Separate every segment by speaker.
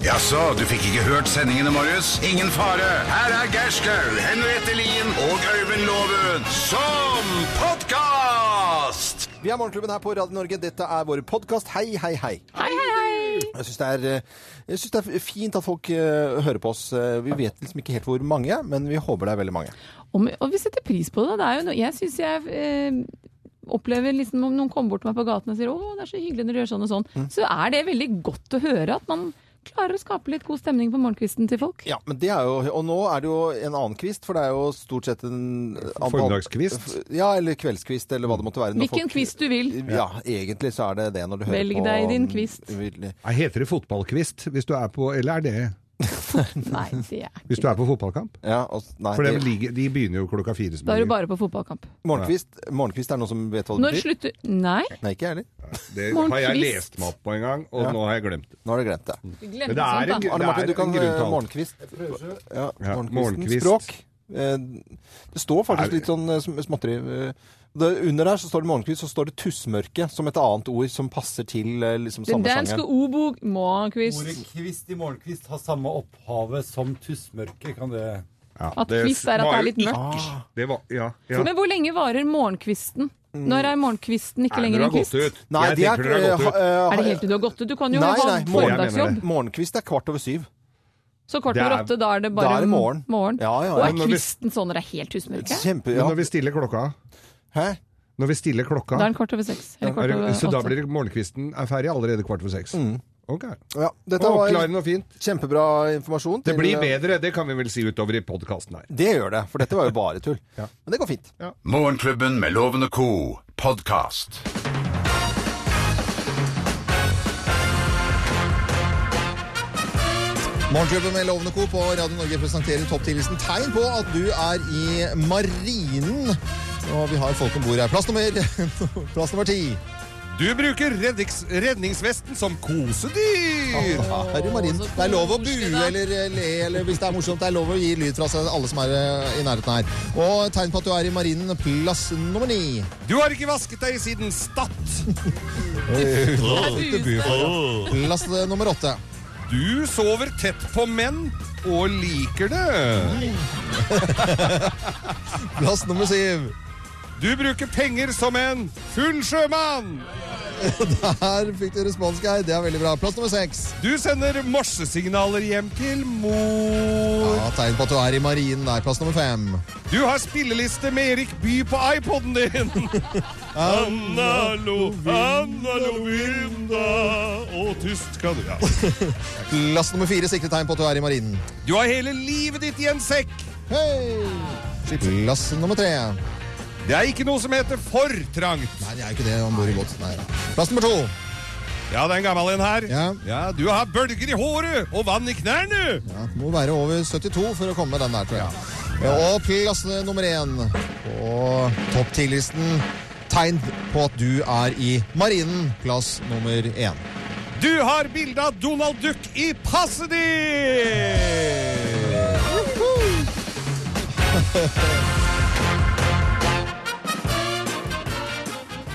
Speaker 1: Jaså, du fikk ikke hørt sendingene, Marius? Ingen fare. Her er Gerskaug, Henriette Lien og Øyvind Loven som podkast!
Speaker 2: Vi er Morgenklubben her på Radio Norge. Dette er vår podkast. Hei, hei, hei.
Speaker 3: Hei, hei, hei!
Speaker 2: Jeg syns det, er, eh, jeg synes det er fint at folk eh, hører på oss. Eh, Vi vet liksom ikke helt hvor mange, men vi håper det er veldig mange.
Speaker 3: Og, vi- og vi setter pris på det. det er jo noe, jeg syns jeg eh, opplever liksom om noen kommer bort til meg på gaten og sier 'Å, det er så hyggelig når du gjør sånn og sånn', så er det veldig godt å høre at man klarer å skape litt god stemning på morgenkvisten til folk.
Speaker 2: Ja, men det er jo, Og nå er det jo en annen kvist, for det er jo stort sett en antall-
Speaker 4: Formiddagskvist?
Speaker 2: Ja, eller kveldskvist, eller hva det måtte være. når
Speaker 3: Hvilken
Speaker 2: folk-
Speaker 3: quiz du vil.
Speaker 2: Ja, egentlig så er det det når du hører
Speaker 3: Velg
Speaker 2: på
Speaker 3: deg din
Speaker 2: mm,
Speaker 3: kvist.
Speaker 2: virkelig.
Speaker 4: Nei, Heter det fotballkvist hvis du er på Eller er det
Speaker 3: Nei, det er
Speaker 4: hvis
Speaker 3: ikke
Speaker 4: du er på fotballkamp?
Speaker 2: Ja, og, nei,
Speaker 4: For de,
Speaker 2: det-
Speaker 4: ligger, de begynner jo klokka fire. som
Speaker 3: Da er du
Speaker 4: regel.
Speaker 3: bare på fotballkamp.
Speaker 2: morgenkvist, morgenkvist er det noen som vet hva det
Speaker 3: Når
Speaker 2: betyr?
Speaker 3: slutter Nei,
Speaker 2: Nei, ikke jeg heller.
Speaker 4: Det har jeg
Speaker 3: Morgenkvist.
Speaker 4: lest meg opp på en gang, og nå har jeg glemt det.
Speaker 2: Nå har du glemt det.
Speaker 3: du glemte
Speaker 4: Men det er
Speaker 3: sånt,
Speaker 4: en
Speaker 3: da.
Speaker 4: gr-
Speaker 2: Arne Martin,
Speaker 4: er
Speaker 2: du kan
Speaker 4: en grunn til
Speaker 2: eh,
Speaker 4: alt.
Speaker 2: morgenkvist. Ja,
Speaker 4: Ja,
Speaker 2: morgenkvisten.
Speaker 4: morgenkvist.
Speaker 2: Språk. Eh, Det står faktisk
Speaker 4: Er-
Speaker 2: litt sånn eh, sm- småtteri eh, det, Under der så står det morgenkvist, så står det tussmørke som et annet ord som passer til eh, liksom
Speaker 3: Den
Speaker 2: samme
Speaker 3: danske
Speaker 2: sangen.
Speaker 3: ordbok
Speaker 5: Ordet
Speaker 3: Morgenkvist.
Speaker 5: kvist i morgenkvist har samme opphavet som tussmørke. Kan det
Speaker 4: Ja,
Speaker 3: At kvist er at det
Speaker 4: var
Speaker 3: er
Speaker 4: jo
Speaker 3: litt
Speaker 4: ikke-
Speaker 3: mørkt.
Speaker 4: Det var, ja, ja.
Speaker 3: Men hvor lenge varer morgenkvisten? Når er morgenkvisten ikke
Speaker 4: Er
Speaker 3: lenger
Speaker 4: dere
Speaker 3: en kvist?
Speaker 4: gått ut?
Speaker 2: Nei,
Speaker 4: jeg
Speaker 2: det
Speaker 4: tenker dere har
Speaker 2: eh,
Speaker 4: gått ut.
Speaker 2: ha- eh,
Speaker 3: Er det sånn helt til du har gått ut? Du kan jo
Speaker 2: Nei,
Speaker 3: ha
Speaker 2: nei, morgen-
Speaker 3: formiddagsjobb.
Speaker 2: Morgenkvist er kvart over syv.
Speaker 3: Så kvart
Speaker 4: Det
Speaker 3: over
Speaker 4: er-
Speaker 3: åtte, da er det bare
Speaker 2: da er det morgen. Ja, ja, ja.
Speaker 3: Og
Speaker 4: Men
Speaker 3: er
Speaker 4: når vi-
Speaker 3: kvisten sånn når det er helt husmørke?
Speaker 2: Kjempe...
Speaker 4: Men
Speaker 2: Ja.
Speaker 4: Når vi stiller klokka
Speaker 2: Hæ?
Speaker 4: Når vi stiller klokka
Speaker 3: Da er den kvart over seks. Eller
Speaker 4: er
Speaker 3: kvart
Speaker 4: det-
Speaker 3: over
Speaker 4: Så da
Speaker 3: åtte.
Speaker 4: blir det- morgenkvisten er ferdig allerede kvart over seks. Ok.
Speaker 2: Ja, Mm. dette var
Speaker 4: Oppklarende og fint.
Speaker 2: kjempebra informasjon.
Speaker 4: Det
Speaker 2: til- eh,
Speaker 4: blir bedre, det kan vi vel si utover i podkasten her.
Speaker 2: Det gjør det, for dette var jo bare tull.
Speaker 4: Ja.
Speaker 2: Men det går fint.
Speaker 1: Morgenklubben med Loven og co. podkast.
Speaker 2: Morgenklubben med Lovende Co. på Radio Norge presenterer topptillitsen tegn på at du er i marinen. Og vi har folk om bord her. Plass nummer, plass nummer ti.
Speaker 4: Du bruker rednings redningsvesten som kosedyr!
Speaker 2: Her er du marinen.
Speaker 3: så koselig,
Speaker 2: Det er lov å bue
Speaker 3: da.
Speaker 2: eller eh, le eller hvis det er morsomt. Det er lov å gi lyd fra seg, alle som er eh, i nærheten her. Og tegn på at du er i marinen. Plass nummer ni.
Speaker 4: Du har ikke vasket deg siden Stad.
Speaker 2: Plass eh, nummer åtte.
Speaker 4: Du sover tett på menn og liker det.
Speaker 2: Plass nummer syv.
Speaker 4: Du bruker penger som en full sjømann.
Speaker 2: Der fikk du respons, Geir. Det er veldig bra. Plass nummer seks.
Speaker 4: Du sender morsesignaler hjem til mor.
Speaker 2: Ja, tegn på at du er i marinen. Der. Plass nummer fem.
Speaker 4: Du har spilleliste med Erik By på iPoden din. Anna lo, Anna Lovinda Og tyst kan du, ja.
Speaker 2: Plass nummer fire. Sikre tegn på at du er i marinen.
Speaker 4: Du har hele livet ditt i en sekk.
Speaker 2: Hei! Plass nummer tre.
Speaker 4: Det er ikke noe som heter for trangt.
Speaker 2: Nei, det er jo ikke det om bord i båt. Nei. Plass nummer to.
Speaker 4: Ja, det er en gammel en her.
Speaker 2: Ja.
Speaker 4: Du har bølger i håret og vann i knærne.
Speaker 2: Ja, må være over 72 for å komme med den der, tror jeg. Ja, og plass nummer én på topp 10-listen. Tegn på at du er i marinen. Plass nummer én.
Speaker 4: Du har bilde av Donald Duck i passet ditt!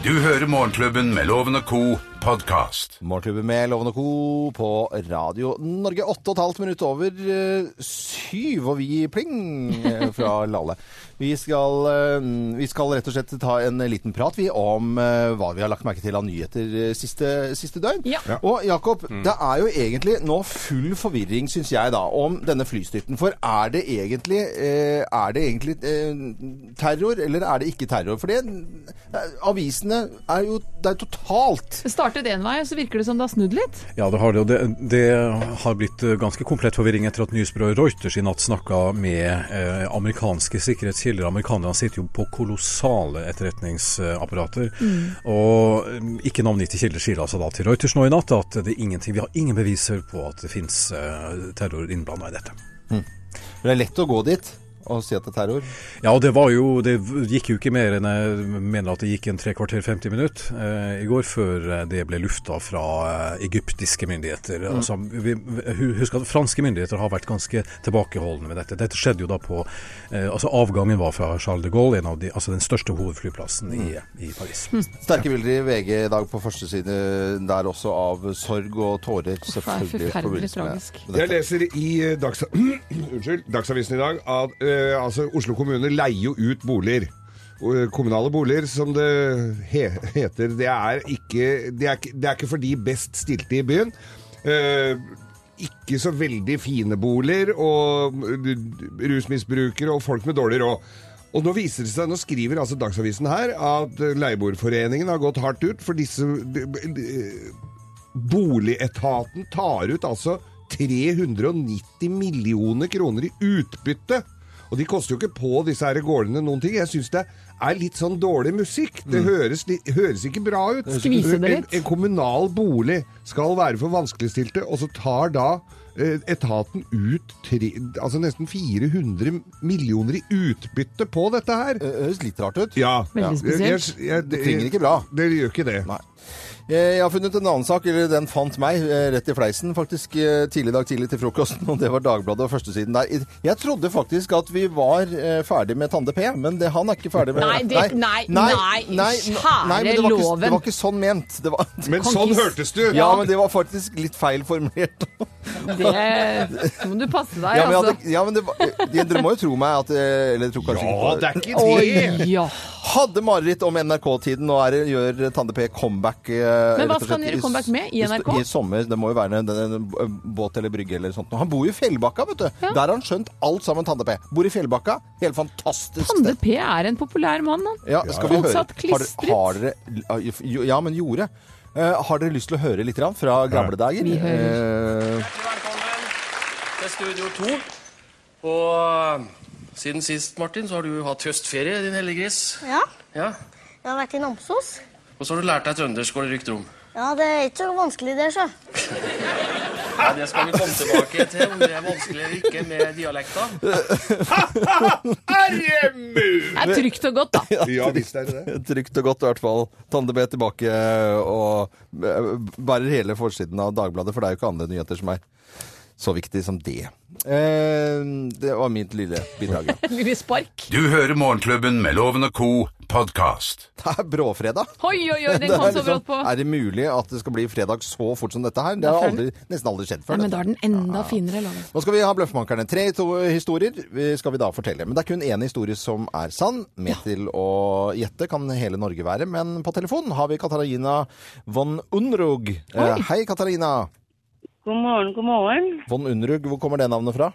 Speaker 1: Du hører Morgenklubben med Loven og co. podkast.
Speaker 2: Morgenklubben med Loven og Co. på Radio Norge. Åtte og et halvt minutt over eh, syv, og vi pling eh, fra Lale. Vi skal, eh, vi skal rett og slett ta en liten prat, vi, om eh, hva vi har lagt merke til av nyheter eh, siste, siste døgn.
Speaker 3: Ja. Ja.
Speaker 2: Og Jakob, det er jo egentlig nå full forvirring, syns jeg, da, om denne flystyrten. For er det egentlig, eh, er det egentlig eh, terror, eller er det ikke terror? For det, eh, avisene er jo Det er totalt
Speaker 3: Det startet én vei, og så virker det som det har snudd litt.
Speaker 6: Ja, det har det. Og det, det har blitt eh, ganske komplett forvirring etter at nyhetsbyrået Reuters i natt snakka med eh, amerikanske sikkerhetskilder. Amerikanerne sitter jo på kolossale etterretningsapparater. Og mm, ikke navngitte kilder sier altså da til Reuters nå i natt at det er ingenting, vi har ingen beviser på at det finnes eh, terror innblanda i dette.
Speaker 2: For det er lett å gå dit. å si at det er terror.
Speaker 6: Ja, og det var jo Det gikk jo ikke mer enn jeg mener at det gikk en tre kvarter 50 minutter eh, i går før eh, det ble lufta fra eh, egyptiske myndigheter. Altså, vi, vi- husk at franske myndigheter har vært ganske tilbakeholdne med dette. Dette skjedde jo da på eh, Altså avgangen var fra Charles de Gaulle, en av de, altså den største hovedflyplassen i, i Paris.
Speaker 2: Sterke bilder i VG i dag på første side der også av sorg og tårer. Selvfølgelig. i
Speaker 3: forferdelig
Speaker 2: forbindelse med
Speaker 3: tragisk.
Speaker 2: dette.
Speaker 4: Jeg leser i eh, Dags Unnskyld, Dagsavisen i dag at eh, altså, Oslo kommune leier jo ut boliger. Eh, Kommunale boliger, som det he heter. Det er, ikke, det, er, ikke- det er ikke for de best stilte i byen. Eh, ikke så veldig fine boliger, og eh, rusmisbrukere og folk med dårlig råd. Og nå viser det seg, nå skriver altså Dagsavisen her at eh, leieboerforeningen har gått hardt ut for disse de- de- Boligetaten tar ut altså 390 millioner kroner i utbytte. Og de koster jo ikke på disse her gårdene noen ting. Jeg syns det er litt sånn dårlig musikk. Det
Speaker 3: Mm.
Speaker 4: høres, li- høres ikke bra ut.
Speaker 3: Skvise det litt.
Speaker 4: En, en kommunal bolig skal være for vanskeligstilte, og så tar da eh, etaten ut tre, altså nesten 400 millioner i utbytte på dette her.
Speaker 2: Det høres litt rart ut.
Speaker 4: Ja.
Speaker 3: Veldig
Speaker 4: Jeg- jeg-
Speaker 3: spesielt.
Speaker 4: jeg-
Speaker 2: Det klinger ikke bra.
Speaker 4: Det gjør ikke det.
Speaker 2: Nei. Eh, Jeg har funnet en annen sak, eller den fant meg eh, rett i fleisen faktisk eh, tidlig i dag tidlig til frokosten, og det var Dagbladet og førstesiden der. I- Jeg trodde faktisk at vi var eh, ferdig med Tande P, men det, han er ikke ferdig med
Speaker 3: Nei, det- nei, nei, kjære
Speaker 2: men det var ikke-
Speaker 3: loven.
Speaker 2: Det var ikke sånn ment. Det var,
Speaker 4: Men
Speaker 3: Kan
Speaker 4: sånn
Speaker 3: ikke s-
Speaker 4: hørtes det ut!
Speaker 2: ja, men det var faktisk litt feil formulert.
Speaker 3: Det må du passe deg,
Speaker 2: Ja, men, jeg
Speaker 3: altså.
Speaker 2: hadde, ja, men det var, de, dere må jo tro meg at eh, Eller tro kanskje
Speaker 4: Ja,
Speaker 2: ikke på
Speaker 4: det er ikke det!
Speaker 3: Oi, ja.
Speaker 2: Hadde mareritt om NRK-tiden, og er, gjør Tande P comeback. eh,
Speaker 3: Men hva
Speaker 2: rett og slett
Speaker 3: skal han gjøre
Speaker 2: i-
Speaker 3: comeback med? I NRK?
Speaker 2: I sommer. Det må jo være en, en, en båt eller brygge eller sånt. Han bor jo i Fjellbakka, vet du.
Speaker 3: Ja.
Speaker 2: Der har han skjønt alt sammen, Tande P. Bor i Fjellbakka. Helt fantastisk. sted.
Speaker 3: Tande P er en populær mann, han.
Speaker 2: Ja, skal vi
Speaker 3: Folk
Speaker 2: høre?
Speaker 3: satt
Speaker 2: Har
Speaker 3: klistret.
Speaker 2: dere, har dere, jo, ja, men gjorde. Eh, har dere lyst til å høre litt grann fra gamle dager? Eh,
Speaker 3: Vi
Speaker 2: hører.
Speaker 7: Velkommen til Studio 2. Og siden sist, Martin, så har du jo hatt høstferie, din hellige gris.
Speaker 8: Ja,
Speaker 7: Ja.
Speaker 8: jeg har vært i Namsos.
Speaker 7: Og så har du lært deg trøndersk, går det rykter om.
Speaker 8: Ja, det er ikke så vanskelig det, sjø.
Speaker 7: Ja, det skal vi komme tilbake til, om det er vanskelig eller ikke med dialekter.
Speaker 3: Det er trygt og godt, da.
Speaker 4: Ja, visst er det det.
Speaker 2: Trygt og godt, i hvert fall. Tande B tilbake og eh, bærer hele forsiden av Dagbladet, for det er jo ikke andre nyheter som er så viktig som det. Eh, det var mitt lille bidrag. ja.
Speaker 3: Lille spark.
Speaker 1: Du hører Morgenklubben med Loven og Co. podkast.
Speaker 2: Det er bråfredag.
Speaker 3: Oi, oi, oi, den
Speaker 2: Det
Speaker 3: kom
Speaker 2: er,
Speaker 3: så
Speaker 2: liksom-
Speaker 3: brått på.
Speaker 2: er det mulig at det skal bli fredag så fort som dette her? Det har aldri, nesten aldri skjedd før.
Speaker 3: Nei, men
Speaker 2: dette.
Speaker 3: da er den enda finere, Loven.
Speaker 2: Nå skal vi ha Bløffmakerne. Tre to- historier eh, skal vi da fortelle. Men det er kun én historie som er sann. Med til å gjette kan hele Norge være. Men på telefon har vi Katarina von Unrug. Eh, hei, Katarina.
Speaker 9: God morgen, god morgen.
Speaker 2: Von Unrug, hvor kommer det navnet fra?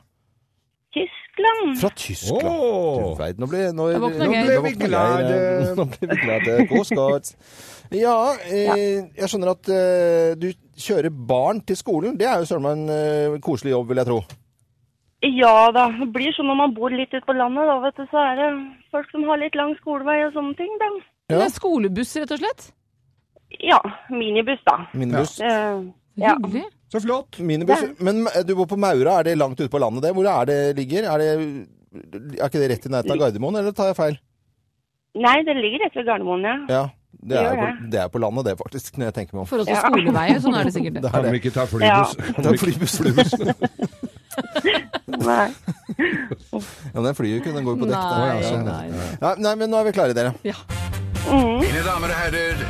Speaker 9: Tyskland.
Speaker 2: Fra Tyskland.
Speaker 4: Åh.
Speaker 2: Du verden, nå ble, nå,
Speaker 3: Da våkna
Speaker 2: nå
Speaker 3: Geir.
Speaker 2: ble vi glade. Nå ble vi glade. God skott. Ja, eh, jeg skjønner at eh, du kjører barn til skolen. Det er jo søren meg en eh, koselig jobb, vil jeg tro.
Speaker 9: Ja da. Det blir sånn når man bor litt ute på landet, da, vet du, så er det folk som har litt lang skolevei og sånne ting, da.
Speaker 3: Det er skolebuss, rett og slett.
Speaker 9: Ja. Minibuss, da.
Speaker 2: Minibuss.
Speaker 9: Eh, ja.
Speaker 3: Hyggelig.
Speaker 4: Så flott.
Speaker 2: Minibuss. Men eh, du bor på Maura, er det langt ute på landet det? Hvor er det ligger? Er, det, er ikke det rett i nærheten av Gardermoen, eller tar jeg feil?
Speaker 9: Nei, det ligger rett ved Gardermoen, ja.
Speaker 2: Ja, det er,
Speaker 9: Gjør
Speaker 2: jo på,
Speaker 9: det.
Speaker 2: det er på landet det, faktisk, når jeg tenker meg om.
Speaker 3: Forhold til skoleveier, sånn er det sikkert.
Speaker 2: Det
Speaker 4: Kan
Speaker 2: er
Speaker 4: vi
Speaker 2: det.
Speaker 4: ikke ta flybuss? Kan vi ikke- flybuss?
Speaker 9: Nei.
Speaker 2: Ja, men den flyr jo ikke, den går jo på dekk. da.
Speaker 3: Nei,
Speaker 2: Ja, sånn.
Speaker 3: nei.
Speaker 2: Nei, nei, men nå er vi klare, dere.
Speaker 1: Mine damer og herrer,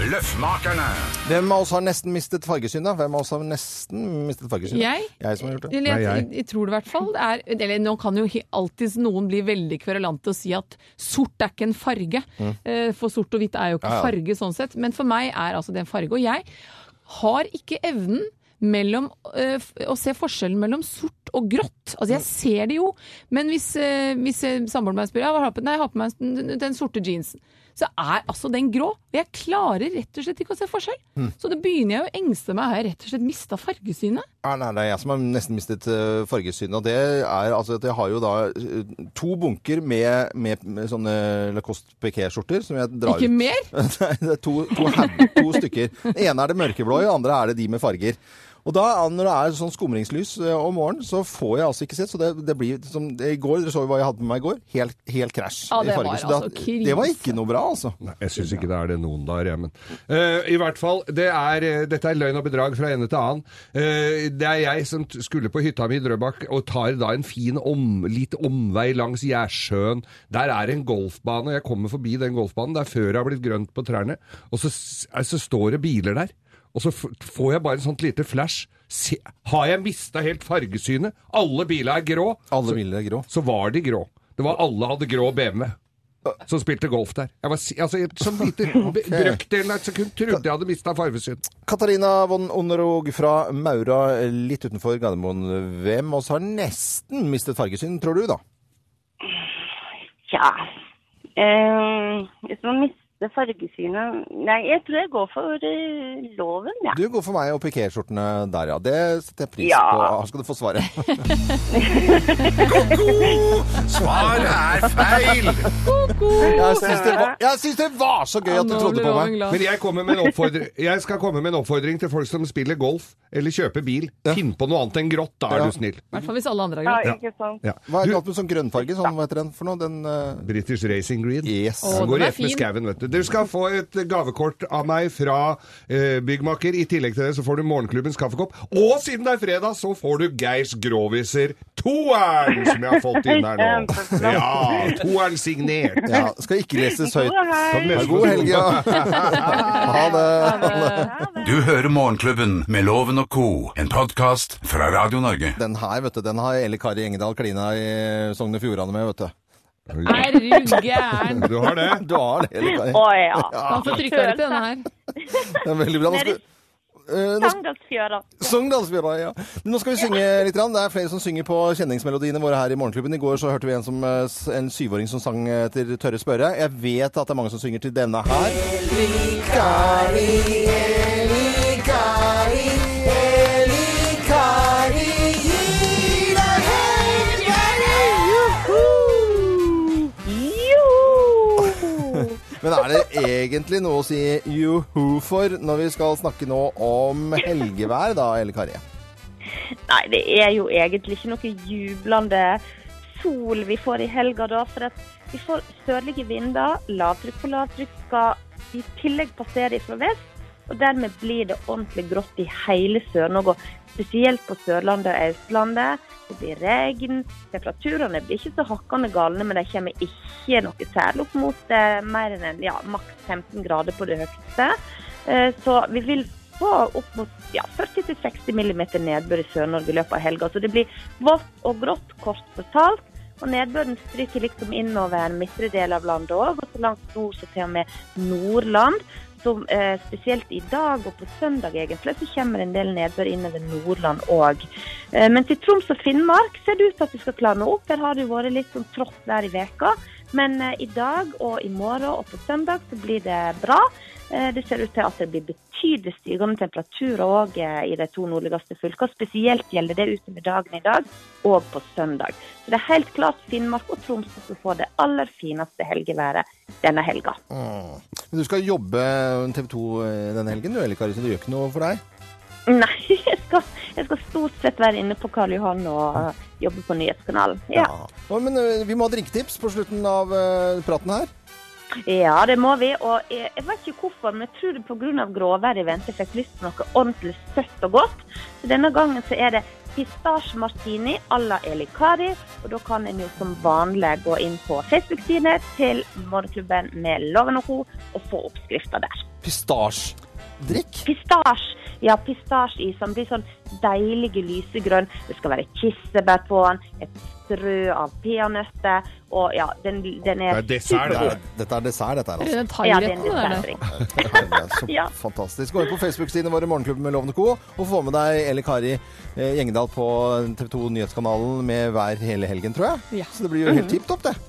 Speaker 1: Bløffmakerne.
Speaker 2: Hvem av oss har nesten mistet fargesyn, da? Hvem av oss har nesten mistet fargesyn?
Speaker 3: Jeg?
Speaker 2: Jeg som har gjort det.
Speaker 3: Eller jeg,
Speaker 4: Nei,
Speaker 3: jeg. tror det i hvert fall. Det er, eller nå kan jo he- alltids noen bli veldig kverulante og si at sort er ikke en farge. Eh, For sort og hvitt er jo ikke
Speaker 2: Mm. Ja, ja.
Speaker 3: farge sånn sett. Men for meg er altså det en farge. Og jeg har ikke evnen mellom eh, f- å se forskjellen mellom sort og grått.
Speaker 2: Mm.
Speaker 3: Altså jeg ser det jo, men hvis, eh, hvis eh, samboeren meg spør ja, hva har du på, nei, jeg har på meg den, den sorte jeansen, så er altså den grå. Og jeg klarer rett og slett ikke å se forskjell.
Speaker 2: Mm.
Speaker 3: Så det begynner jeg å engste meg. Har jeg rett og slett mista fargesynet?
Speaker 2: Ja, nei, det er jeg som har nesten mistet eh, fargesynet. Og det er altså at jeg har jo da eh, to bunker med, med, med sånne Lacoste Piquet-skjorter som jeg drar
Speaker 3: Ikke
Speaker 2: ut.
Speaker 3: mer?
Speaker 2: Nei, det er to, to, haug- to stykker. Den ene er det mørkeblå, i, den andre er det de med farger. Og da, når det er sånn skumringslys eh, om morgenen, så får jeg altså ikke sett. Så det, det blir som det, i går. Dere så jo hva jeg hadde med meg i går. Helt, helt krasj.
Speaker 3: Ja,
Speaker 2: i
Speaker 3: det var
Speaker 2: fargen. Så
Speaker 3: altså krise.
Speaker 2: Det var ikke noe bra, altså.
Speaker 4: Nei, jeg syns ikke det er det noen dager, jeg, men Eh, I hvert fall, det er, eh, dette er løgn og bedrag fra ende til annen. Eh, det er jeg som t- skulle på hytta mi i Drøbak, og tar da en fin om, litt omvei langs Gjersjøen. Der er en golfbane, og jeg kommer forbi den golfbanen. Det er før det har blitt grønt på trærne. Og så, s- eh, så står det biler der. Og så f- får jeg bare en sånt lite flash. Se, har jeg mista helt fargesynet? Alle biler er grå.
Speaker 2: Alle biler er grå.
Speaker 4: Så var de grå. Det var alle hadde grå BMW. Som spilte golf der. Jeg var, si- altså, jeg- som lite okay. brøkdelen av et sekund trodde jeg hadde mista fargesyn.
Speaker 2: Katarina von Onderog fra Maura, litt utenfor Gardermoen. Hvem av oss har nesten mistet fargesyn, tror du, da?
Speaker 9: Tja. Eh, hvis man mister fargesynet Nei, jeg tror jeg går for eh, loven, jeg.
Speaker 2: Du går for meg og pikéskjortene der, ja. Det setter jeg pris
Speaker 9: Ja.
Speaker 2: på. Her skal du få svaret.
Speaker 1: Svar er feil!
Speaker 2: Jeg syns det, var- jeg syns det var så gøy at du
Speaker 3: nå
Speaker 2: trodde
Speaker 3: blir
Speaker 2: på
Speaker 3: Rowan
Speaker 2: meg.
Speaker 3: glad.
Speaker 4: Men jeg, kommer med en oppfordring, jeg skal komme med en oppfordring til folk som spiller golf eller kjøper bil. Finn på noe annet enn grått, da er
Speaker 2: Ja.
Speaker 4: du snill.
Speaker 3: I hvert fall hvis alle andre har
Speaker 9: Ja,
Speaker 3: grått.
Speaker 9: ikke sant.
Speaker 4: Ja.
Speaker 2: Hva er det
Speaker 4: Du,
Speaker 2: galt med sånn grønnfarge? Sånn, hva heter den for noe? Den eh,
Speaker 4: British Racing Green.
Speaker 2: Yes.
Speaker 3: Å,
Speaker 4: Den går
Speaker 3: den er
Speaker 4: rett med
Speaker 3: fin.
Speaker 4: skauen, vet du. Dere skal få et gavekort av meg fra eh, byggmaker. I tillegg til det så får du Morgenklubbens kaffekopp. Og siden det er fredag, så får du Geirs Groviser toeren, som jeg har fått inn her nå.
Speaker 9: Kjempeflott.
Speaker 4: Ja, toeren signert.
Speaker 2: Ja, skal ikke leses høyt.
Speaker 9: God helg.
Speaker 2: Ha en God helg, ja. Ha det.
Speaker 1: Du hører Morgenklubben med Loven og Co., en podkast fra Radio Norge.
Speaker 2: Den her, vet du, den har Elle Kari Engedal klina i Sogn og Fjordane med, vet du.
Speaker 3: Er du gæren?
Speaker 4: Du har det?
Speaker 2: Du har det, Elle Kari.
Speaker 9: Å ja.
Speaker 3: Han får trykka litt i denne her.
Speaker 2: Det er veldig bra. Nå skal, Eh, nå
Speaker 9: Sangdagsfjøra.
Speaker 2: Sogndalsfjøra, ja. altså, Nå skal vi synge litt. Rann. Det er flere som synger på kjenningsmelodiene våre her i Morgenklubben. I går så hørte vi en, som, eh, s- en syvåring som sang etter Tørre spørre. Jeg vet at det er mange som synger til denne her.
Speaker 9: Jo!
Speaker 2: Men er det egentlig noe å si juhu for når vi skal snakke nå om helgevær, da, Elle Kari?
Speaker 9: Nei, det er jo egentlig ikke noe jublende sol vi får i helga da. For at vi får sørlige vinder, lavtrykk på lavtrykk skal i tillegg passere fra vest. Og dermed blir det ordentlig grått i hele Sør-Norge, og spesielt på Sørlandet og Østlandet. Det blir regn. Temperaturene blir ikke så hakkende galne, men de kommer ikke noe særlig opp mot eh, mer enn en, ja, maks 15 grader på det høyeste. Eh, så vi vil få opp mot ja, 40-60 mm nedbør i Sør-Norge i løpet av helga. Så det blir vått og grått, kort fortalt. Og nedbøren stryker liksom innover midtre del av landet òg, og så langt nord som til og med Nordland. Som, eh, spesielt i dag og på søndag egentlig, så kommer det en del nedbør innover Nordland òg. Eh, mens i Troms og Finnmark ser det ut til at det skal klarne opp. Der har det jo vært litt sånn trått der i veka. Men eh, i dag og i morgen og på søndag så blir det bra. Eh, Det ser ut til at det blir betydelig stigende temperaturer òg i de to nordligste fylkene. Spesielt gjelder det utover dagen i dag og på søndag. Så det er helt klart Finnmark og Troms som får det aller fineste helgeværet denne helga.
Speaker 2: Mm. Men du skal jobbe eh, TV 2 denne helgen, du, Elle Kari, så det gjør ikke noe for deg?
Speaker 9: Nei, jeg skal, jeg skal stort sett være inne på Karl Johan og eh, jobbe på nyhetskanalen. Ja,
Speaker 2: Å, Men eh, vi må ha drinketips på slutten av eh, praten her.
Speaker 9: ja det må vi. Og jeg, jeg vet ikke hvorfor, men jeg tror det pga. gråværet i vente fikk lyst på noe ordentlig søtt og godt. Så denne gangen så er det pistasje martini à la Elikari. Og da kan en jo som vanlig gå inn på Facebook-sidene til Morgenklubben med Loven og Co. og få oppskrifta der.
Speaker 2: Pistasjdrikk.
Speaker 9: Pistasje. Ja, pistasjeis. Den blir sånn deilig lysegrønn. Det skal være kirsebær på den, et strø av peanøtter, og ja, den, den er
Speaker 4: Det er dessert,
Speaker 9: supergod.
Speaker 4: det.
Speaker 2: Dette er dessert, dette her, altså.
Speaker 3: Den
Speaker 9: Ja, det er en
Speaker 3: thairetten der, det.
Speaker 9: dessertdrink.
Speaker 2: Så
Speaker 9: Ja.
Speaker 2: Fantastisk. Gå inn på Facebook-sidene våre Morgenklubben med Lovende Co. og få med deg Eli Kari eh, Gjengedal på TV 2 Nyhetskanalen med hver hele helgen, tror jeg.
Speaker 3: Ja.
Speaker 2: Så det blir jo helt tipp topp, Mhm. det.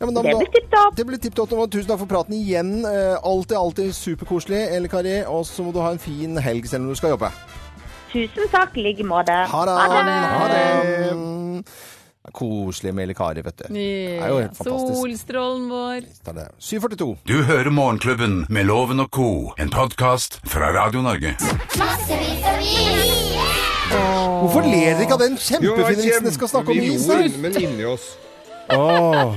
Speaker 2: Ja, men da
Speaker 9: Det
Speaker 2: må-
Speaker 9: blir tipptopp.
Speaker 2: Det blir tipp topp. Tusen takk for praten igjen. Eh, Alltid, alltid superkoselig, Eli Kari. Og så må du ha en fin helg selv om du skal jobbe.
Speaker 9: Tusen takk, i like måte.
Speaker 2: Ha det! Ha det. Koselig med Eli Kari, vet du. Det er jo
Speaker 3: Ja,
Speaker 2: helt fantastisk.
Speaker 3: solstrålen vår.
Speaker 2: Det er det. 7.42.
Speaker 1: Du hører Morgenklubben med Loven og Co., en podkast fra Radio Norge.
Speaker 8: Massevis av ris!
Speaker 2: Hvorfor ler dere ikke av den kjempefine
Speaker 4: Jo,
Speaker 2: vitsen jeg skal snakke om
Speaker 4: vi
Speaker 2: is?
Speaker 4: lo,
Speaker 2: her?
Speaker 4: Men inni oss.
Speaker 2: Åh,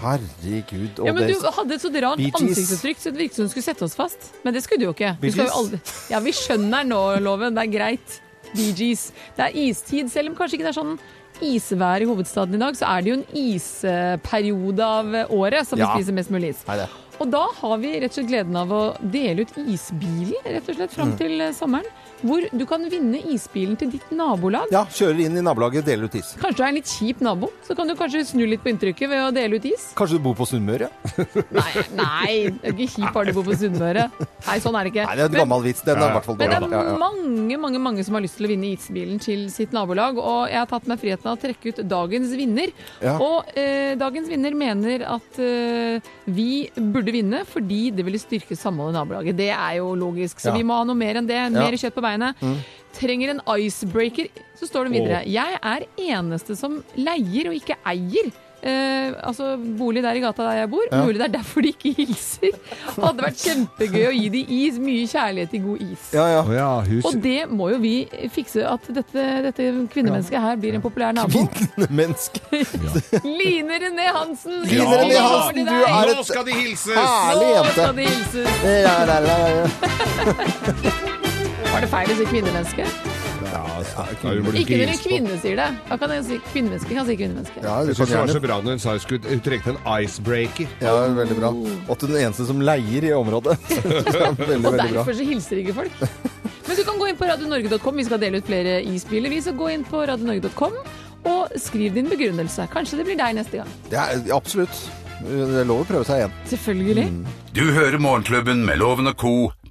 Speaker 2: herregud.
Speaker 3: Ja,
Speaker 2: Og
Speaker 3: men
Speaker 2: det
Speaker 3: Du hadde et så rart
Speaker 2: Bee Gees.
Speaker 3: ansiktsuttrykk så det virket som du skulle sette oss fast. Men det skulle du jo ikke. Du
Speaker 2: Bee
Speaker 3: skal jo
Speaker 2: Gees?
Speaker 3: aldri... Ja, vi skjønner nå loven. Det er greit. Bee Gees. Det er istid, selv om kanskje ikke det er sånn isvær i hovedstaden i dag, så er det jo en isperiode av året som
Speaker 2: Ja.
Speaker 3: vi spiser mest mulig is.
Speaker 2: Nei, det.
Speaker 3: Og da har vi rett og slett gleden av å dele ut isbiler rett og slett fram
Speaker 2: Mm.
Speaker 3: til eh, sommeren. Hvor du kan vinne isbilen til ditt nabolag.
Speaker 2: Ja, kjører inn i nabolaget, deler ut is.
Speaker 3: Kanskje du er en litt kjip nabo, så kan du kanskje snu litt på inntrykket ved å dele ut is.
Speaker 2: Kanskje du bor på Sunnmøre?
Speaker 3: Nei, nei, det er ikke kjip har du bodd på Sunnmøre. Nei, sånn er det ikke.
Speaker 2: Nei, det er en gammel vits. Den er i hvert fall
Speaker 3: Men det
Speaker 2: dårlig.
Speaker 3: er
Speaker 2: Ja, ja.
Speaker 3: mange mange, mange som har lyst til å vinne isbilen til sitt nabolag. Og jeg har tatt meg friheten av å trekke ut dagens vinner.
Speaker 2: Ja.
Speaker 3: Og eh, dagens vinner mener at eh, vi burde vinne fordi det ville styrke samholdet i nabolaget. Det er jo logisk. Så
Speaker 2: Ja. Mm.
Speaker 3: vi må ha noe mer enn det. Mer kjøtt på beinet. Trenger en icebreaker. Så står det videre. Jeg er eneste som leier og ikke eier. Eh, altså bolig der i gata der jeg bor. Mulig det er derfor de ikke hilser. Hadde vært kjempegøy å gi de is. Mye kjærlighet i god is.
Speaker 2: Ja, ja.
Speaker 4: ja,
Speaker 3: Og det må jo vi fikse, at dette, dette kvinnemennesket her blir en populær nabo.
Speaker 2: Menneske.
Speaker 3: Line René Hansen!
Speaker 2: Line
Speaker 3: gratulerer
Speaker 2: René Hansen,
Speaker 3: til
Speaker 2: du
Speaker 3: deg.
Speaker 2: er et-
Speaker 4: Nå skal de hilses!
Speaker 2: Herlig
Speaker 3: Nå skal
Speaker 2: jente.
Speaker 3: det hilses!
Speaker 2: Ja, la, la, la.
Speaker 3: Var det feil å si kvinnemenneske? Ikke når en kvinne sier det. Da kan jeg si kvinnemenneske. Kan jeg si kvinnemenneske.
Speaker 2: Ja, du kan
Speaker 4: Jeg syns det var så
Speaker 2: gjerne.
Speaker 4: bra når hun sa hun skulle hun trengte en icebreaker.
Speaker 2: Ja, veldig bra. Og at du er den eneste som leier i området. Veldig,
Speaker 3: Og
Speaker 2: veldig bra.
Speaker 3: derfor så hilser ikke folk. Men du kan gå inn på radionorge.com. Vi skal dele ut flere isbiler. Vi skal gå inn på radionorge.com og skriv din begrunnelse. Kanskje det blir deg neste gang.
Speaker 2: Det er, absolutt. Det er lov å prøve seg igjen.
Speaker 3: Selvfølgelig.
Speaker 2: Mm.
Speaker 1: Du hører Morgenklubben med Loven og co.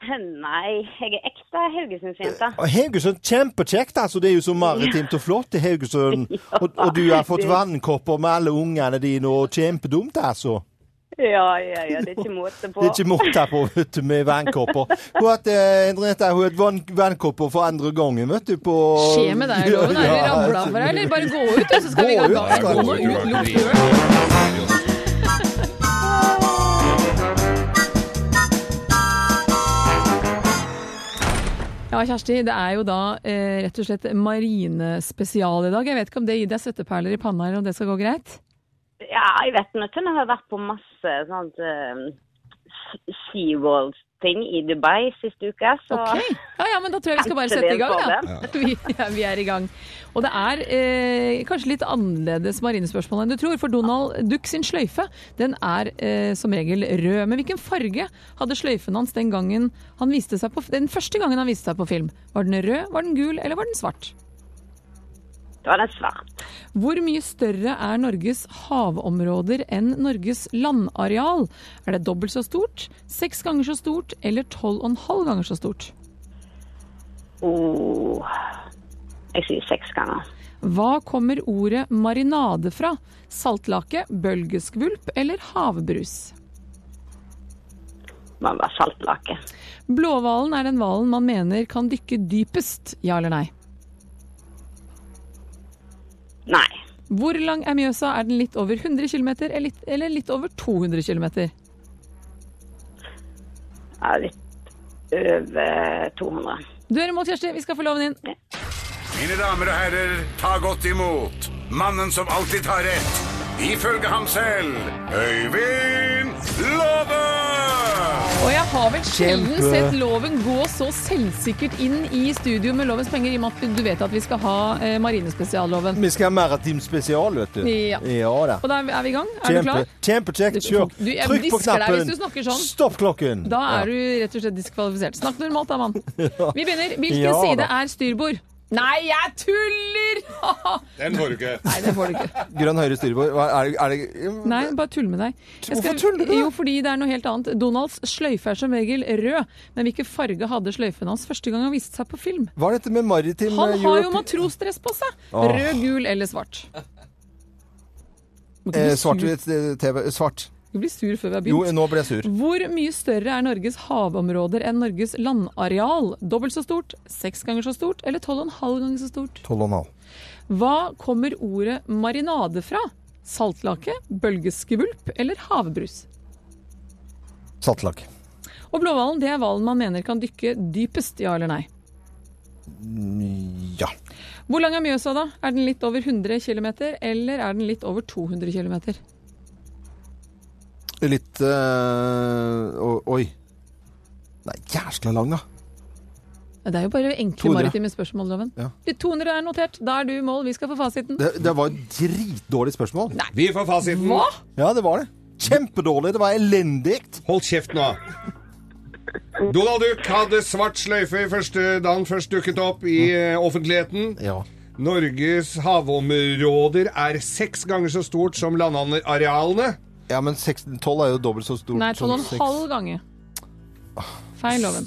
Speaker 9: Nei, jeg er ekte Haugesundsjente.
Speaker 2: Og Haugesund, kjempekjekt. altså. Det er jo så maritimt og flott i Haugesund. Og, og du har fått vannkopper med alle ungene dine, og kjempedumt, altså.
Speaker 9: Ja, ja, ja, det er ikke måte på.
Speaker 2: Det er ikke måte på vet du, med vannkopper. Hun har hatt, eh, Henriette, hun har hatt vann, vannkopper for andre gangen, vet du, på
Speaker 3: Skje med deg, Loven. Er det ramla for deg, eller? Bare gå ut, og så skal vi
Speaker 2: Gå
Speaker 3: gå
Speaker 2: ut,
Speaker 3: ut.
Speaker 2: skal
Speaker 3: Gå
Speaker 2: vi.
Speaker 3: ut, lukt døren. Ja, Kjersti, det er jo da eh, rett og slett marinespesial i dag. Jeg vet ikke om det gir deg svetteperler i panna, eller om det skal gå greit?
Speaker 9: Ja, jeg vet nå ikke. Jeg har vært på masse sånt eh, SeaWorld-ting i Dubai siste uke, så
Speaker 3: Ok. Ja, ja, men da tror jeg vi skal bare
Speaker 9: Kanskje
Speaker 3: sette i
Speaker 9: vi
Speaker 3: gang,
Speaker 9: får
Speaker 3: da. Vi, ja, vi er i gang. Og det er eh, kanskje litt annerledes marinespørsmål enn du tror, for Donald Duck sin sløyfe den er eh, som regel rød. Men hvilken farge hadde sløyfen hans den gangen han viste seg på, den første gangen han viste seg på film? Var den rød, var den gul, eller var den svart?
Speaker 9: da er den svart.
Speaker 3: Hvor mye større er Norges havområder enn Norges landareal? Er det dobbelt så stort, seks ganger så stort eller tolv og en halv ganger så stort?
Speaker 9: Oh. Jeg sier seks ganger.
Speaker 3: Hva kommer ordet marinade fra? Saltlake, bølgeskvulp eller havbrus?
Speaker 9: Man var saltlake.
Speaker 3: Blåhvalen er den hvalen man mener kan dykke dypest, ja eller nei?
Speaker 9: Nei.
Speaker 3: Hvor lang er Mjøsa? Er den litt over 100 km eller litt- eller litt over 200 km?
Speaker 9: Jeg er litt over 200.
Speaker 3: Du er imot, Kjersti. Vi skal få loven inn.
Speaker 1: Mine damer og herrer, ta godt imot mannen som alltid tar rett. Ifølge ham selv Øyvind Låve!
Speaker 3: Og jeg har vel sjelden sett loven gå så selvsikkert inn i studio med lovens penger, i og med at du vet at vi skal ha eh, marinespesialloven.
Speaker 2: Vi skal ha maritim spesial, vet du.
Speaker 3: Ja.
Speaker 2: da.
Speaker 3: Og da er vi- er vi i gang. Er du
Speaker 2: Kjempe,
Speaker 3: klar?
Speaker 2: kjempekjekt.
Speaker 3: Du-
Speaker 2: Kjør.
Speaker 3: du-
Speaker 2: Trykk
Speaker 3: jeg
Speaker 2: på
Speaker 3: hvisker deg hvis
Speaker 2: knappen.
Speaker 3: du snakker sånn.
Speaker 2: Stopp klokken.
Speaker 3: Da er du rett og slett diskvalifisert. Snakk normalt da, mann. Vi begynner. Hvilken
Speaker 2: Ja,
Speaker 3: side
Speaker 2: da.
Speaker 3: er styrbord? Nei, jeg tuller!
Speaker 10: Den får du ikke.
Speaker 3: Nei, det får du ikke.
Speaker 2: Grønn høyre styrbord. Hva Er, er det
Speaker 3: Nei, bare tull med deg. Jeg
Speaker 2: Hvorfor tuller du?
Speaker 3: Jo, fordi det er noe helt annet. Donalds sløyfe er som regel rød, men hvilken farge hadde sløyfen hans første gang han viste seg på film?
Speaker 2: Hva er dette med maritim
Speaker 3: Han
Speaker 2: eh,
Speaker 3: har jo
Speaker 2: Europe-
Speaker 3: matrosdress på seg.
Speaker 2: Åh.
Speaker 3: Rød, gul eller svart. Må
Speaker 2: eh,
Speaker 3: ikke bli sur.
Speaker 2: svart, eh, TV, svart.
Speaker 3: Ikke bli sur før vi har
Speaker 2: Jo,
Speaker 3: begynt.
Speaker 2: nå ble jeg sur.
Speaker 3: Hvor mye større er Norges havområder enn Norges landareal? Dobbelt så stort, seks ganger så stort eller tolv og en halv ganger så stort?
Speaker 2: 12,5.
Speaker 3: Hva kommer ordet marinade fra? Saltlake, bølgeskvulp eller havbrus?
Speaker 2: Saltlak.
Speaker 3: Og blåhvalen det er hvalen man mener kan dykke dypest, ja eller nei?
Speaker 2: Mm, Ja.
Speaker 3: Hvor lang er Mjøsa, da? Er den litt over 100 km, eller er den litt over 200 km?
Speaker 2: Litt øh, o- Oi. Den er jæskla lang, da.
Speaker 3: Det er jo bare enkle
Speaker 2: 200.
Speaker 3: maritime spørsmål, Loven.
Speaker 2: Ja.
Speaker 3: De 200 er notert. Da er du i mål. Vi skal få fasiten.
Speaker 2: Det, det var et dritdårlig spørsmål.
Speaker 4: Vi får fasiten.
Speaker 3: Hva?
Speaker 2: Ja, det var det. Kjempedårlig. Det var elendig.
Speaker 4: Hold kjeft nå. Donald Duck hadde svart sløyfe i første, da han først dukket opp i eh, offentligheten.
Speaker 2: Ja.
Speaker 4: Norges havområder er seks ganger så stort som landarealene.
Speaker 2: Ja, men 16, 12 er jo dobbelt så stort
Speaker 3: Nei,
Speaker 2: som 6.
Speaker 3: 12,5 ganger. Feil, Loven.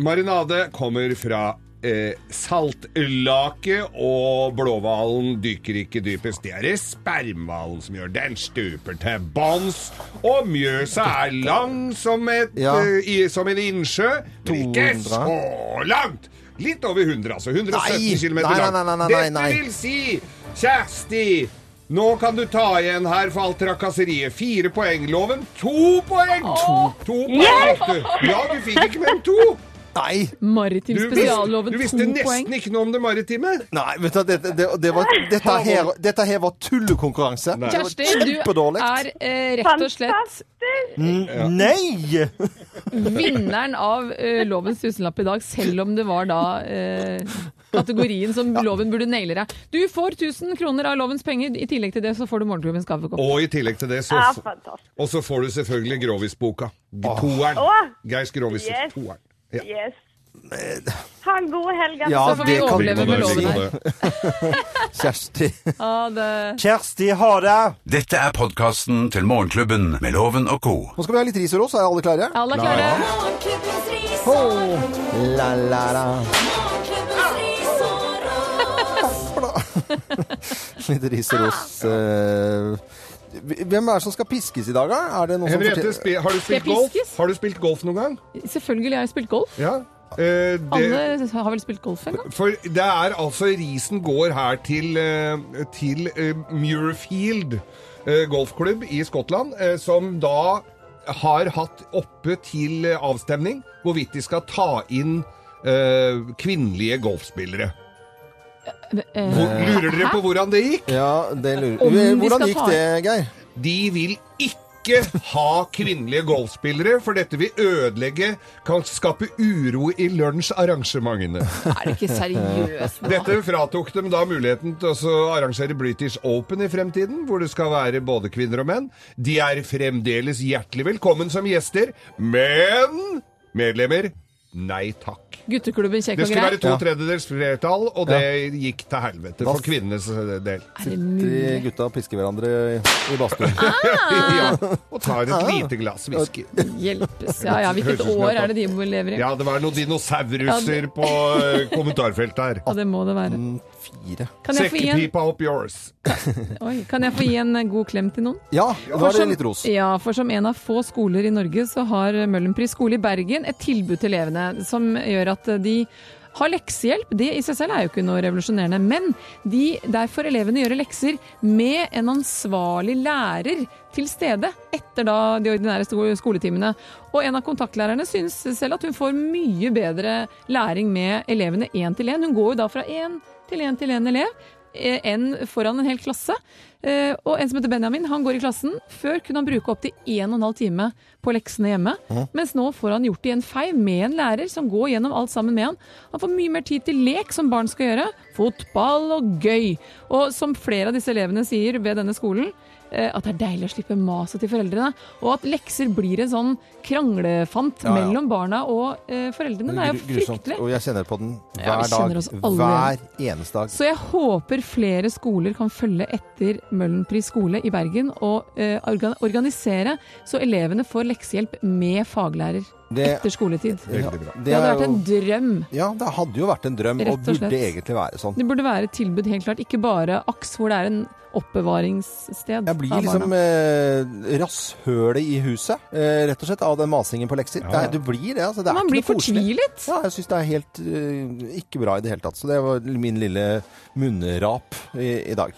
Speaker 4: Marinade kommer fra eh, saltlake, og blåhvalen dykker ikke dypest. Det er det spermhvalen som gjør. Den stuper til bånns. Og Mjøsa er lang som, et,
Speaker 2: Ja.
Speaker 4: eh, i, som en innsjø, men ikke
Speaker 2: 200.
Speaker 4: så langt! Litt over 100, altså. 117
Speaker 2: Nei!
Speaker 4: km
Speaker 2: Nei,
Speaker 4: langt.
Speaker 2: nei, nei, nei, nei, nei.
Speaker 4: Dette vil si, Kjersti nå kan du ta igjen her for alt trakasseriet. Fire poeng. Loven to poeng! To, poeng. Lotte. Ja, du fikk ikke mer enn to.
Speaker 2: Nei!
Speaker 3: Maritim
Speaker 4: Du, visste,
Speaker 3: spesialloven,
Speaker 4: du
Speaker 3: to
Speaker 4: visste
Speaker 3: poeng.
Speaker 4: nesten ikke noe om det maritime.
Speaker 2: Nei, vet du, dette, det, det var, dette, her, dette her var tullekonkurranse. Det var
Speaker 3: Kjersti, du
Speaker 2: Kjempedårlig.
Speaker 3: er eh, rett og slett
Speaker 2: Nei!
Speaker 3: vinneren av eh, lovens tusenlapp i dag, selv om det var da eh, kategorien som loven burde naile deg. Du får 1000 kroner av lovens penger. I tillegg til det så får du morgenklubbens kaffekopp.
Speaker 4: Og i tillegg til det, så,
Speaker 9: Ja, fantastisk.
Speaker 4: og så får du selvfølgelig Grovis-boka. Toeren.
Speaker 9: Åh.
Speaker 4: Geirs Grovis.
Speaker 9: Yes.
Speaker 4: Toeren. Ja.
Speaker 9: Yes. Ha en god helg.
Speaker 2: Ja,
Speaker 3: Så får
Speaker 9: altså.
Speaker 3: vi
Speaker 2: det kan
Speaker 3: overleve med
Speaker 2: vi
Speaker 3: loven
Speaker 2: si.
Speaker 3: her.
Speaker 2: Kjersti.
Speaker 3: Ja, det...
Speaker 2: Kjersti, ha det!
Speaker 1: Dette er podkasten til Morgenklubben med Loven og co.
Speaker 2: Nå skal vi ha litt ris og ros. Er alle klare?
Speaker 3: Alle er klare?
Speaker 2: Oh, la, la, la. Litt ris og ros. eh. Hvem er det som skal piskes i dag, da? Er det noen som
Speaker 4: Henriette,
Speaker 2: fortjener-
Speaker 4: spi- har du spilt
Speaker 3: Skal jeg
Speaker 4: golf?
Speaker 3: piskes?
Speaker 4: Har du spilt golf noen gang?
Speaker 3: Selvfølgelig har jeg spilt golf.
Speaker 4: Ja. Eh, det,
Speaker 3: Alle har vel spilt golf en gang?
Speaker 4: for det er altså Risen går her til, eh, til eh, Muirfield eh, golfklubb i Skottland, eh, som da har hatt oppe til eh, avstemning hvorvidt de skal ta inn eh, kvinnelige golfspillere.
Speaker 3: Eh,
Speaker 4: Hvor- Lurer dere på hvordan det gikk?
Speaker 2: Ja, det
Speaker 3: Om
Speaker 2: lurer
Speaker 3: vi
Speaker 2: Hvordan
Speaker 3: skal
Speaker 2: gikk
Speaker 3: ta-
Speaker 2: det, Geir?
Speaker 4: De vil ikke ha kvinnelige golfspillere, for dette vil ødelegge Kan skape uro i lunsjarrangementene.
Speaker 3: er det ikke seriøst? nå?
Speaker 4: Dette fratok dem da muligheten til å så arrangere British Open i fremtiden, hvor det skal være både kvinner og menn. De er fremdeles hjertelig velkommen som gjester, men medlemmer, nei takk.
Speaker 3: Gutteklubben kjekk
Speaker 4: Det
Speaker 3: og
Speaker 4: skulle være
Speaker 3: grei.
Speaker 4: to tredjedels flertall, og det gikk til helvete for kvinnenes del.
Speaker 3: Er det
Speaker 2: De
Speaker 3: mulig? Ah.
Speaker 2: gutta pisker hverandre i- i badstuen.
Speaker 4: Ja, og tar et lite glass whisky.
Speaker 3: Hjelpes. Ja, ja, hvilket
Speaker 4: Høres ut som
Speaker 3: år
Speaker 4: jeg
Speaker 3: er det de lever i?
Speaker 4: Ja, det var noen dinosauruser
Speaker 3: Ja, det-
Speaker 4: på eh, kommentarfeltet her.
Speaker 3: Ja, det må det være.
Speaker 2: Fire.
Speaker 3: Kan jeg, få gi en,
Speaker 4: Sekkepipa opp yours.
Speaker 3: oi, kan jeg få gi en god klem til noen?
Speaker 2: Ja, da er det litt ros.
Speaker 3: sånn- Ja, for som en av få skoler i Norge, så har Møhlenpris skole i Bergen et tilbud til elevene som gjør at de har leksehjelp. Det i seg selv er jo ikke noe revolusjonerende. Men de, der får elevene gjøre lekser med en ansvarlig lærer til stede etter da de ordinære sko- skoletimene. Og en av kontaktlærerne syns selv at hun får mye bedre læring med elevene én til én. Hun går jo da fra én til én til én elev eh, enn foran en hel klasse. Eh, Og en som heter Benjamin, han går i klassen. Før kunne han bruke opptil 1 12 time på leksene hjemme, mens nå får han gjort det i en fei med en lærer som går gjennom alt sammen med han. Han får mye mer tid til lek som barn skal gjøre. Fotball og gøy. Og som flere av disse elevene sier ved denne skolen, eh, at det er deilig å slippe maset til foreldrene. Og at lekser blir en sånn kranglefant
Speaker 2: Ja, ja.
Speaker 3: mellom barna og eh, foreldrene. Det er jo fryktelig.
Speaker 2: Og jeg kjenner på den
Speaker 3: Ja,
Speaker 2: hver
Speaker 3: vi
Speaker 2: dag.
Speaker 3: kjenner oss alle
Speaker 2: Hver eneste dag.
Speaker 3: Så jeg håper flere skoler kan følge etter Møhlenpris skole i Bergen og eh, organ- organisere så elevene får leksehjelp med faglærer.
Speaker 2: Det-
Speaker 3: etter skoletid.
Speaker 2: Ja,
Speaker 3: Det,
Speaker 2: det
Speaker 3: hadde
Speaker 2: er
Speaker 3: vært
Speaker 2: jo-
Speaker 3: en drøm.
Speaker 2: Ja, det hadde jo vært en drøm,
Speaker 3: Rett
Speaker 2: og
Speaker 3: og
Speaker 2: burde
Speaker 3: slett.
Speaker 2: egentlig være sånn.
Speaker 3: Det burde være et tilbud, helt klart. Ikke bare AKS, hvor det er en oppbevaringssted.
Speaker 2: Jeg blir
Speaker 3: av
Speaker 2: liksom
Speaker 3: barna.
Speaker 2: eh, rasshølet i huset, eh, rett og slett, av den masingen på lekser.
Speaker 3: ja.
Speaker 2: Det er- Du blir det, altså. Det er
Speaker 3: Man
Speaker 2: ikke
Speaker 3: blir
Speaker 2: noe koselig.
Speaker 3: fortvilet.
Speaker 2: Ja, jeg syns det er helt eh, ikke bra i det hele tatt. Så det var min lille munnrap i, i dag.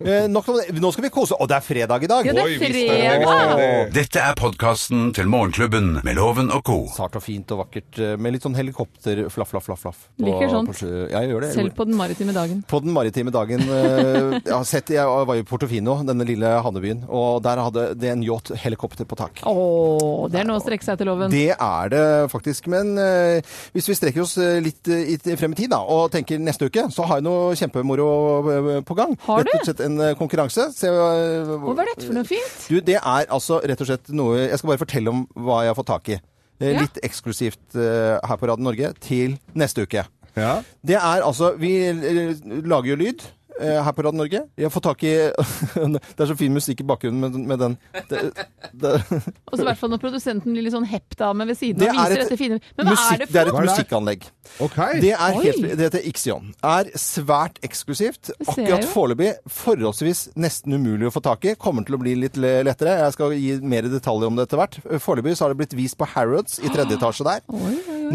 Speaker 2: Eh, nok om det. Nå skal vi kose Og det er fredag i dag!
Speaker 3: Ja, det er Oi, visst er det fredag! fredag.
Speaker 1: Dette er podkasten til Morgenklubben med Loven og co.
Speaker 2: Sart og fint og vakkert, eh, med litt sånn helikopter flaff, flaff, flaff, flaff. på-
Speaker 3: Liker sånt.
Speaker 2: på sjø. Ja, jeg gjør det.
Speaker 3: Selv på den maritime dagen.
Speaker 2: På den maritime dagen eh, Jeg har sett, jeg var i Portofino, denne lille havnebyen, og der hadde det en yacht helikopter på tak.
Speaker 3: Å, det er noe å strekke seg etter loven.
Speaker 2: Det er det faktisk. Men eh, hvis vi strekker oss eh, litt eh, i- frem i tid da, og tenker neste uke, så har jeg noe kjempemoro eh, på gang.
Speaker 3: Har du?
Speaker 2: Rett og slett en eh, konkurranse. Se, eh,
Speaker 3: Hva var dette for noe fint?
Speaker 2: du, det er altså rett og slett noe Jeg skal bare fortelle om hva jeg har fått tak i. Eh,
Speaker 3: Ja.
Speaker 2: Litt eksklusivt eh, her på Radio Norge til neste uke. Det er altså Vi eh, lager jo lyd. eh, Her på Radio Norge. Jeg har fått tak i Det er så fin musikk i bakgrunnen med, med den. Det, det,
Speaker 3: Og så i hvert fall når produsenten blir litt sånn hepp-dame ved siden
Speaker 2: Det
Speaker 3: av og
Speaker 2: er
Speaker 3: viser
Speaker 2: et
Speaker 3: dette fine Men hva
Speaker 2: musikk-
Speaker 3: er det
Speaker 2: det er
Speaker 3: for
Speaker 2: et
Speaker 3: noe?
Speaker 2: musikkanlegg. Det er
Speaker 3: Oi.
Speaker 2: helt, det heter Ixion. Er svært eksklusivt.
Speaker 3: Det ser jeg
Speaker 2: Akkurat
Speaker 3: jo.
Speaker 2: foreløpig forholdsvis nesten umulig å få tak i. Kommer til å bli litt le- lettere. Jeg skal gi mer detaljer om det etter hvert. Foreløpig så har det blitt vist på Harrods i tredje etasje der.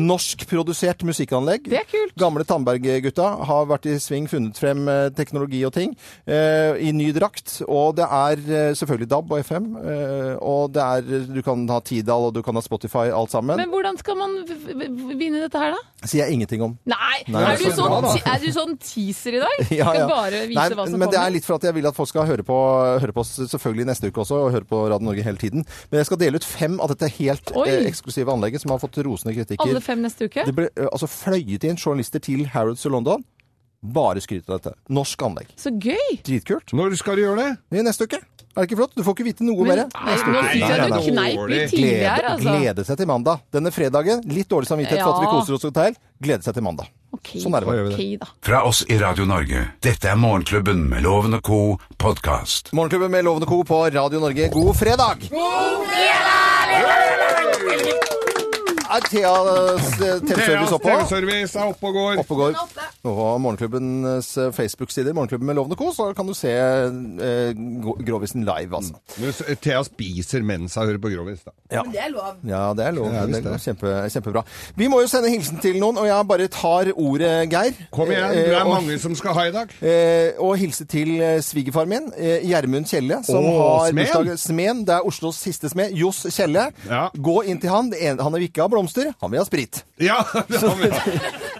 Speaker 2: Norskprodusert musikkanlegg.
Speaker 3: Det er kult.
Speaker 2: Gamle Tandberg-gutta har vært i sving, funnet frem eh, teknologi og ting eh, i ny drakt. Og det er eh, selvfølgelig DAB og FM. Eh, og det er, du kan ha Tidal og du kan ha Spotify, alt sammen.
Speaker 3: Men hvordan skal man v- v- vinne dette her, da?
Speaker 2: Sier jeg ingenting om.
Speaker 3: Nei!
Speaker 2: Nei,
Speaker 3: er,
Speaker 2: det er så
Speaker 3: du sånn,
Speaker 2: bra, da.
Speaker 3: ti- er du sånn teaser i dag?
Speaker 2: Ja,
Speaker 3: Skal
Speaker 2: ja.
Speaker 3: bare vise
Speaker 2: Nei,
Speaker 3: hva som
Speaker 2: men
Speaker 3: kommer?
Speaker 2: det er litt for at jeg vil at folk skal høre på, høre på oss selvfølgelig neste uke også, og høre på Radio Norge hele tiden. Men jeg skal dele ut fem av dette helt
Speaker 3: Oi.
Speaker 2: eh, eksklusive anlegget, som har fått rosende kritikker.
Speaker 3: Alle fem neste uke?
Speaker 2: Det ble eh, altså fløyet inn journalister til Harrods i London. Bare skryt av dette. Norsk anlegg.
Speaker 3: Så gøy!
Speaker 2: Dritkult.
Speaker 4: Når skal du gjøre det?
Speaker 2: I neste uke. Er det ikke flott? Du får ikke vite noe
Speaker 3: Men-
Speaker 2: mer.
Speaker 3: Nei, nå synes jeg du kneip litt tidlig her,
Speaker 2: Glede-
Speaker 3: altså.
Speaker 2: Glede seg til mandag. Denne fredagen, litt dårlig samvittighet for at vi
Speaker 3: Ja.
Speaker 2: koser oss hotell. Glede seg til mandag.
Speaker 3: Ok,
Speaker 2: Sånn er det bare.
Speaker 3: ok, da.
Speaker 1: Fra oss i Radio Norge. Dette er Morgenklubben med Loven og co. podkast.
Speaker 2: Morgenklubben med Lovende Co. på Radio Norge, god fredag! Er Theas eh, TV-service oppe?
Speaker 4: Theas TV-service er oppe og går.
Speaker 2: Oppe og går. På morgenklubbens eh, Facebook-sider, Morgenklubben med Lovende Co., så kan du se eh, Gro- Grovisen live, altså.
Speaker 4: Men så- Thea spiser mens hun hører på Grovis, da.
Speaker 2: Ja.
Speaker 11: Men det er lov.
Speaker 2: Ja, det er lov.
Speaker 4: Ja,
Speaker 2: det
Speaker 4: visst
Speaker 2: er
Speaker 4: det.
Speaker 2: kjempe, kjempebra. Vi må jo sende hilsen til noen, og jeg bare tar ordet, Geir.
Speaker 4: Kom igjen, det
Speaker 2: Eh,
Speaker 4: er
Speaker 2: og-
Speaker 4: mange som skal ha i dag.
Speaker 2: Eh, og hilse til eh, svigerfaren min, eh, Gjermund Kjelle, som
Speaker 4: Åh,
Speaker 2: har
Speaker 4: smeden.
Speaker 2: bursdag. Smeden. Det er Oslos siste smed. Johs Kjelle. Gå inn til han. Det ene- Han vil ikke ha blomster, han vil ha sprit.
Speaker 4: Ja, det har vi.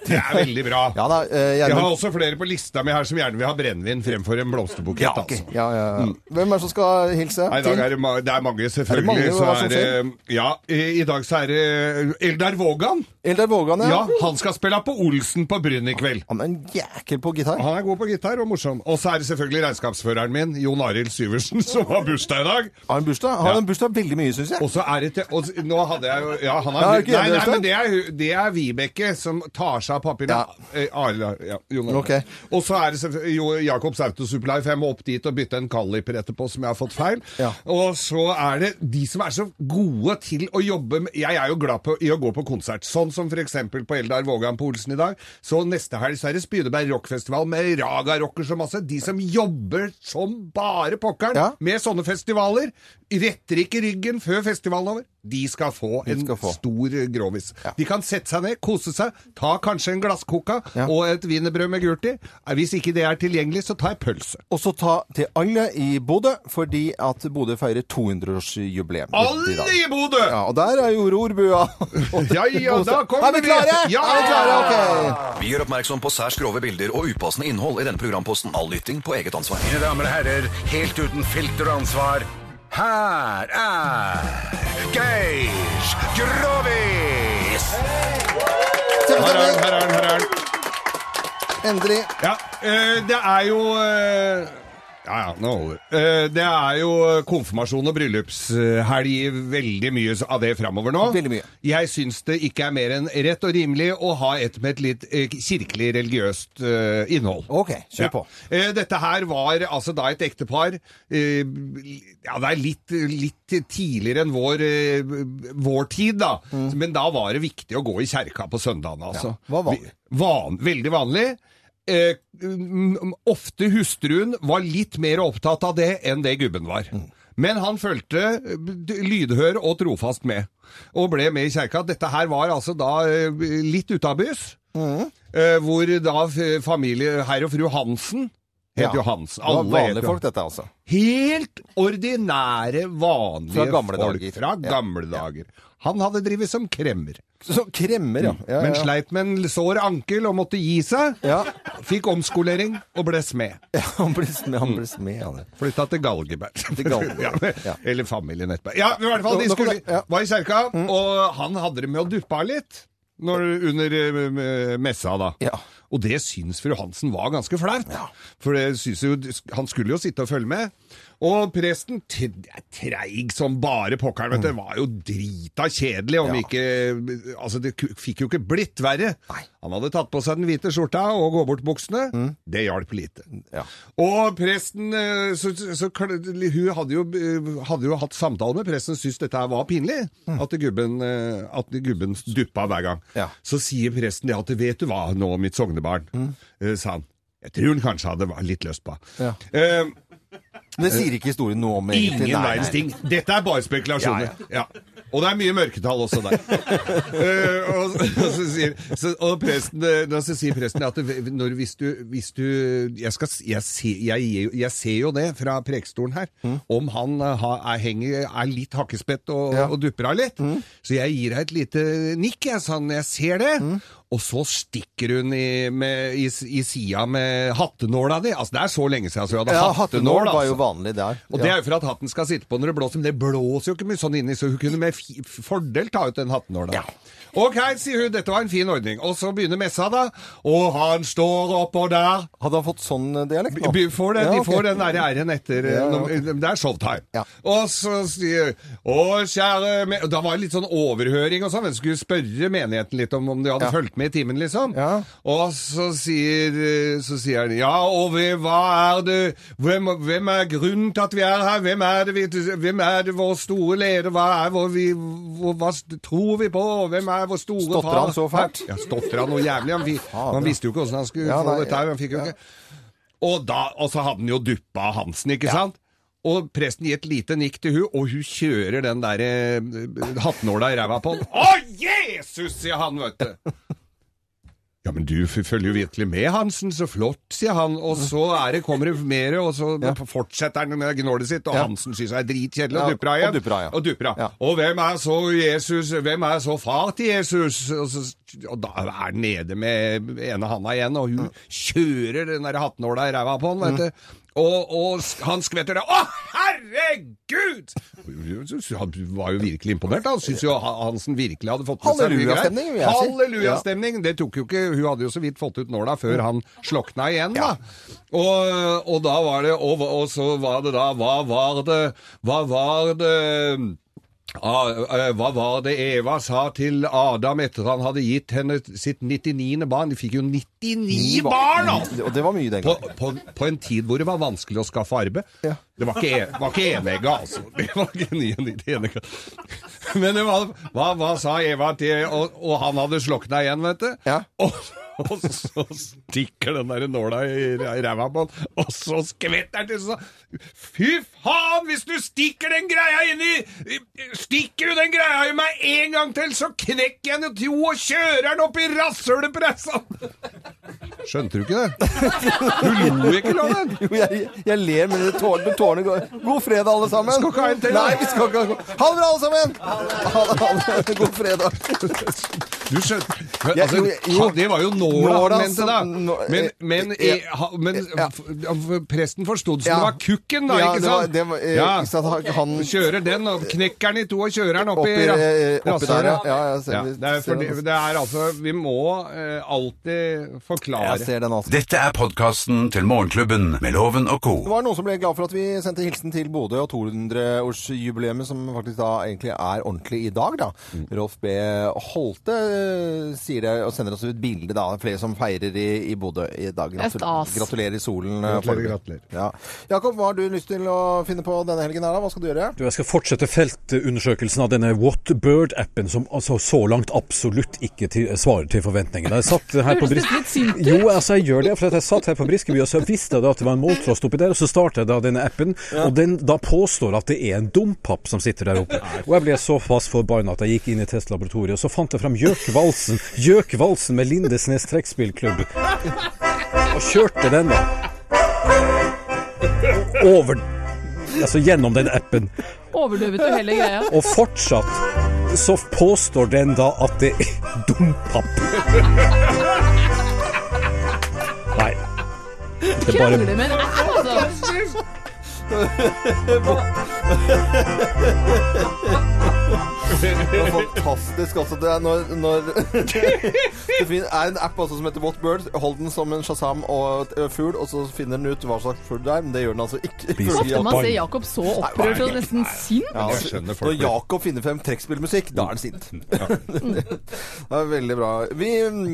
Speaker 4: Det er veldig bra.
Speaker 2: Ja da, eh,
Speaker 4: Jeg har
Speaker 2: Gjermund.
Speaker 4: også flere på lista mi her som gjerne vil ha brennevin fremfor en blomsterbukett.
Speaker 2: Ja, ok.
Speaker 4: altså.
Speaker 2: Ja, ja, ja. Hvem er det som skal hilse?
Speaker 4: Nei, I dag er det, ma det er mange, selvfølgelig.
Speaker 2: Er det mange,
Speaker 4: så
Speaker 2: hva som
Speaker 4: er det, ja, i, I dag så er det Eldar Vågan.
Speaker 2: Eldar Vågan, ja.
Speaker 4: Han skal spille på Olsen på Bryn i kveld.
Speaker 2: Han er en jækel på gitar.
Speaker 4: Han er god på gitar og morsom. Og så er det selvfølgelig regnskapsføreren min, Jon Arild Syversen, som har bursdag i dag.
Speaker 2: Har han bursdag? Har han bursdag veldig mye, syns jeg.
Speaker 4: Og så er det til, og, s- Nå hadde jeg jo Ja, han
Speaker 2: Ja,
Speaker 4: har
Speaker 2: er det ikke
Speaker 4: Nei, nei,
Speaker 2: Eldar
Speaker 4: men det er, hu- det er Vibeke som tar seg av papirene. Eh, Arild, ja, Jon Arild.
Speaker 2: Ok.
Speaker 4: Og så er det selvfølgelig jo, Jacobs Autosupply, for jeg må opp dit og bytte en caliper etterpå som jeg har fått feil. Og så er det de som er så gode til å jobbe med Jeg er jo glad på, i å gå på konsert, sånn som f.eks. på Eldar Vågan på Olsen i dag. Så neste helg så er det Spydeberg rockfestival med Raga rockers og masse. De som jobber som bare pokkeren med sånne festivaler. Retter ikke ryggen før festivalen er over. De skal få en stor eh, grovis. De kan sette seg ned, kose seg, ta kanskje en glasskoka og et wienerbrød med gult i. Eh, Hvis ikke det er tilgjengelig, så tar jeg pølse.
Speaker 2: Og så ta til alle i Bodø, fordi at Bodø feirer 200-årsjubileum. i
Speaker 4: Alle
Speaker 2: dag.
Speaker 4: i Bodø!
Speaker 2: Ja, og der er jo rorbua.
Speaker 4: Ja, ja, da kommer
Speaker 2: Er vi
Speaker 4: vi!
Speaker 2: klare?
Speaker 4: Ja!
Speaker 2: Er vi klare? Ok.
Speaker 12: Vi gjør oppmerksom på særs grove bilder og upassende innhold i denne programposten. All lytting på eget ansvar.
Speaker 1: Mine damer og herrer, helt uten filter og ansvar, her er Geir Grovis!
Speaker 4: Her er den, her er den, her er den.
Speaker 2: Endelig.
Speaker 4: Ja, eh, det er jo eh, Ja, ja, nå holder det. Eh, Det er jo konfirmasjon og bryllupshelg veldig mye av det framover nå. Veldig mye. Jeg syns det ikke er mer enn rett og rimelig å ha et med et litt eh, kirkelig religiøst eh, innhold.
Speaker 2: Ok, kjør på.
Speaker 4: Eh, Dette her var altså da et ektepar eh, Ja, det er litt, litt tidligere enn vår, eh, vår tid, da. Men da var det viktig å gå i kjerka på søndagene, altså.
Speaker 2: Mm. Ja, var vanlig.
Speaker 4: Vi- Van, veldig vanlig. Eh, mm, ofte hustruen var litt mer opptatt av det enn det gubben var.
Speaker 2: Mm.
Speaker 4: Men han fulgte eh, d- lydhør og trofast med, og ble med i kjerka. Dette her var altså da eh, litt utabys. Eh, hvor da f- familie herr og fru Hansen het
Speaker 2: Ja.
Speaker 4: jo Hans.
Speaker 2: Det var
Speaker 4: Alle het
Speaker 2: vanlige
Speaker 4: jo-
Speaker 2: folk, dette, altså.
Speaker 4: Helt ordinære, vanlige
Speaker 2: Fra gamle
Speaker 4: folk
Speaker 2: dager.
Speaker 4: fra
Speaker 2: Ja.
Speaker 4: gamle dager. Han hadde drevet som kremmer.
Speaker 2: Så kremmer, ja. ja, ja,
Speaker 4: Mm. Men
Speaker 2: ja.
Speaker 4: sleit med en sår ankel og måtte gi seg. Fikk omskolering og ble smed.
Speaker 2: han ble smed, han ble smed, ja, det.
Speaker 4: Flytta til Galgeberg.
Speaker 2: Til Galgeberg,
Speaker 4: ja, men-
Speaker 2: ja.
Speaker 4: Eller familien etterpå. Ja, men i hvert fall, de
Speaker 2: Nå- nå kom Mm.
Speaker 4: skulle, var i kjerka, og han hadde det med å duppe av litt når, under eh, messa da. Og det syns fru Hansen var ganske flaut. For det syns jo, han skulle jo sitte og følge med. Og presten, t- treig som bare pokkeren,
Speaker 2: Mm.
Speaker 4: vet du, var jo drita kjedelig om ikke Altså, det ku- fikk jo ikke blitt verre. Han hadde tatt på seg den hvite skjorta og gå-bort-buksene.
Speaker 2: Mm.
Speaker 4: Det hjalp lite. Og presten eh, så, så, kl- Hun hadde jo, eh, hadde jo hatt samtale med presten, syntes dette her var pinlig. At gubben, eh, at gubben duppa hver gang. Så sier presten det at 'Vet du hva, nå, mitt sognebarn', eh, sa han. Jeg tror han kanskje hadde vært litt lyst på.
Speaker 2: Ja.
Speaker 4: Eh,
Speaker 2: Det sier ikke historien noe om, egentlig. Nei,
Speaker 4: Ingen
Speaker 2: nei.
Speaker 4: verdens ting. Dette er bare spekulasjoner.
Speaker 2: Ja,
Speaker 4: Ja. Og det er mye mørketall også der. Eh, og, og, så sier, så, og presten, eh, da så sier presten at det- når, hvis, du, hvis du jeg, skal, s- jeg, ser, jeg, gir jo- jeg ser jo det fra prekestolen her,
Speaker 2: Mm.
Speaker 4: om han eh, ha, er, henger, er litt hakkespett og, og dupper av litt.
Speaker 2: Mm.
Speaker 4: Så jeg gir deg et lite nikk, jeg, sa han. Jeg ser det.
Speaker 2: Mm.
Speaker 4: Og så stikker hun i, med, i, s- i sida med hattenåla di. Altså, det er så lenge siden altså, hun hadde
Speaker 2: Ja,
Speaker 4: hattenål.
Speaker 2: hattenål var
Speaker 4: altså.
Speaker 2: jo vanlig der.
Speaker 4: Og det er jo for at hatten skal sitte på når det blåser, men det blåser jo ikke mye sånn inni, så hun kunne med fi- fordel ta ut den hattenåla. Ok, sier hun, dette var en fin ordning. Og så begynner messa, da. Og han står oppå der.
Speaker 2: Hadde han fått sånn dialekt nå?
Speaker 4: B- Får det,
Speaker 2: Ja,
Speaker 4: De
Speaker 2: ok.
Speaker 4: får den der æren etter eh,
Speaker 2: Ja, ja,
Speaker 4: når- Det er showtime. Og så sier Å, kjære me-» Og Da var det litt sånn overhøring og sånn. men Skulle spørre menigheten litt om, om de hadde fulgt med i timen, liksom. Og så sier, eh, så sier han Ja, og vi- hva er det hvem, hvem er grunnen til at vi er her? Hvem er det, vi, hvem er det vår store leder? Hva er vår vi, hvor, Hva s- tror vi på? Hvem er vår store
Speaker 2: Stotrer
Speaker 4: far?
Speaker 2: han så fælt?
Speaker 4: Ja, stotrer han noe jævlig. Han, vi, han visste jo ikke åssen han skulle
Speaker 2: Ja,
Speaker 4: få
Speaker 2: nei,
Speaker 4: dette her. Han fikk jo ikke og, da, og så hadde han jo duppa av Hansen, ikke sant? Og presten gir et lite nikk til hun, og hun kjører den der eh, hattenåla i ræva på han. Å, Jesus, sier han, vet du. Ja, men du f- følger jo virkelig med, Hansen. Så flott, sier han. Og så er det, kommer det mer, og så fortsetter han med gnålet sitt, og Hansen synes det er dritkjedelig,
Speaker 2: Ja,
Speaker 4: og dupper av
Speaker 2: og
Speaker 4: igjen.
Speaker 2: dupper av, ja.
Speaker 4: Og dupper av.
Speaker 2: Ja.
Speaker 4: Og hvem er så Jesus, hvem er så far til Jesus? Og, så, og da er han nede med ene handa igjen, og hun kjører den der hattenåla i ræva på han, vet du. Og, og sk- han skvetter det. Å, herregud! Han var jo virkelig imponert. Han syntes jo Hansen virkelig hadde fått med seg mye greier.
Speaker 2: Hallelujastemning, vil jeg si.
Speaker 4: Hallelujastemning! Det tok jo ikke Hun hadde jo så vidt fått ut nåla før
Speaker 2: Mm.
Speaker 4: han slokna igjen, da. Og, og da var det og, og så var det da Hva var det Hva var det Ah, eh, hva var det Eva sa til Adam etter han hadde gitt henne sitt 99. barn? De fikk jo 99 barn! altså!
Speaker 2: Og det var mye den
Speaker 4: På,
Speaker 2: gangen.
Speaker 4: på, på en tid hvor det var vanskelig å skaffe arbeid. Det var ikke, e- var ikke enegga, altså. Det var ikke 99 enegga. Men det var, hva, hva sa Eva til Og, og han hadde slokna igjen, vet du. Og, og så stikker den der nåla i, i ræva på han, og så skvetter han til sånn. Fy faen, hvis du stikker den greia inn i Stikker du den greia i meg en gang til, så knekker jeg den i to og kjører den opp i rasshølet på resten! Skjønte du ikke det? Du lo ikke, Loven!
Speaker 2: Jo, jeg, jeg ler, men det tår- det tårene går God fredag, alle sammen!
Speaker 4: Skal ikke ha en til, da?
Speaker 2: Nei, vi skal ikke ha Ha det bra, alle sammen! Ha det, ha det. God fredag.
Speaker 4: Du skjønner Men,
Speaker 2: Ja,
Speaker 4: altså,
Speaker 2: jo, jo.
Speaker 4: han- det var jo nåla
Speaker 2: Nåla
Speaker 4: han mente,
Speaker 2: som-
Speaker 4: da.
Speaker 2: altså- nå-
Speaker 4: Men, men,
Speaker 2: ja.
Speaker 4: eh, ha- men
Speaker 2: Ja.
Speaker 4: f- f- presten forstod som
Speaker 2: Ja.
Speaker 4: det var kukken, da,
Speaker 2: Ja,
Speaker 4: ikke
Speaker 2: det var-
Speaker 4: sant?
Speaker 2: det var, eh, ikke sant, han- han-
Speaker 4: Kjører den, og knekker den i to og kjører den opp
Speaker 2: Oppi,
Speaker 4: i
Speaker 2: eh,
Speaker 4: ra-
Speaker 2: oppi der, ja.
Speaker 4: rasshølet.
Speaker 2: ja, jeg ser,
Speaker 4: Ja, det, er fordi,
Speaker 2: ser den.
Speaker 4: det er altså Vi må eh, alltid forklare.
Speaker 2: Jeg ser den altså.
Speaker 1: Dette er podkasten til Morgenklubben med Loven og co.
Speaker 2: Det var noen som ble glad for at vi sendte hilsen til Bodø og 200-årsjubileet, som faktisk da egentlig er ordentlig i dag, da. Rolf B. Holte eh, sier det, og sender oss et bilde, da. Flere som feirer i, i Bodø i dag.
Speaker 3: Det er stas.
Speaker 2: gratulerer i solen. eh,
Speaker 4: Gratulerer,
Speaker 2: foreløpig.
Speaker 4: gratulerer.
Speaker 2: Ja. Jakob, hva har du lyst til å finne på denne helgen her, da? Hva skal du gjøre?
Speaker 6: Du, jeg skal fortsette feltundersøkelsen av denne Whatbird-appen, som altså så langt absolutt ikke til, svarer til forventningene. Jeg satt her på
Speaker 3: Høres
Speaker 6: Bris...
Speaker 3: nesten litt sint ut.
Speaker 6: Jo, altså, jeg gjør det, for at jeg satt her på Briskeby, og så visste jeg da at det var en måltrost oppi der, og så startet jeg da denne appen, og den da påstår at det er en dompapp som sitter der oppe. Og jeg ble så fast forbanna at jeg gikk inn i testlaboratoriet, og så fant jeg fram Gjøkvalsen, Gjøkvalsen med Lindesnes trekkspillklubb, og kjørte den, da. Over Altså gjennom den appen.
Speaker 3: Overdøvet og hele greia.
Speaker 6: Og fortsatt så påstår den da at det er dompapp. Nei. Det er
Speaker 3: Krangler
Speaker 6: bare
Speaker 3: med en app, altså.
Speaker 2: Det var fantastisk altså. Det er når, når Det fin- er en app altså, som heter Whatbird. Hold den som en shazam og et ø, fugl, og så finner den ut hva slags fugl det er, men det gjør den altså ikke. Ifølge
Speaker 6: Spis
Speaker 3: Når
Speaker 6: opp.
Speaker 2: Jakob.
Speaker 3: man ser Jakob så opprørt og nesten sint
Speaker 2: Ja,
Speaker 4: Jeg skjønner folk
Speaker 2: når
Speaker 4: blir-
Speaker 2: Jakob finner frem trekkspillmusikk, da er han sint. det er veldig bra. Vi mm,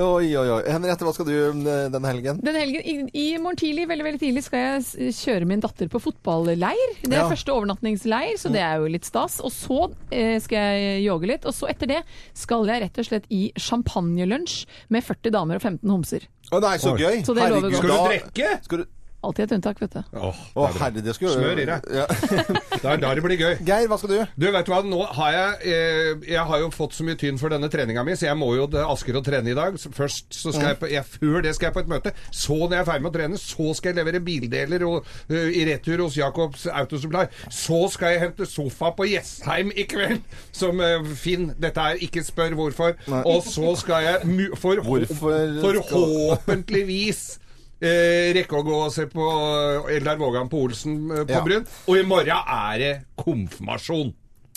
Speaker 2: Oi, oi, oi. Henriette, hva skal du ø, denne helgen?
Speaker 3: Den helgen, i, I morgen tidlig veldig, veldig tidlig skal jeg s- kjøre min datter på fotballeir. Det er
Speaker 2: Ja.
Speaker 3: første overnattingsleir, så det er jo litt stas. Og så eh, skal jeg yoge litt. Og så etter det skal jeg rett og slett i champagnelunsj med 40 damer og 15 homser.
Speaker 2: Å nei, så gøy!
Speaker 3: Så det lover godt.
Speaker 4: Skal du
Speaker 2: da-
Speaker 4: drikke?
Speaker 2: Skal du...
Speaker 3: Alltid et unntak, vet du.
Speaker 4: Åh,
Speaker 2: Å herre, det skal
Speaker 4: Smør i deg.
Speaker 2: Ja.
Speaker 4: det er da det blir gøy.
Speaker 2: Geir, hva skal du?
Speaker 4: Du, vet du hva, nå har jeg eh, Jeg har jo fått så mye tyn for denne treninga mi, så jeg må jo til Asker og trene i dag. Så Først så skal jeg på, jeg, Før det skal jeg på et møte. Så når jeg er ferdig med å trene, så skal jeg levere bildeler og, eh, i retur hos Jacobs Autosupply. Så skal jeg hente sofa på Jessheim i kveld, som eh, Finn Dette er ikke spør hvorfor. Og så skal jeg mu- for,
Speaker 2: Hvorfor
Speaker 4: Forhåpentligvis Eh, rekke å gå og se på eh, Eldar Vågan på Olsen eh, på
Speaker 2: Ja.
Speaker 4: Bryn. Og i morgen er det konfirmasjon.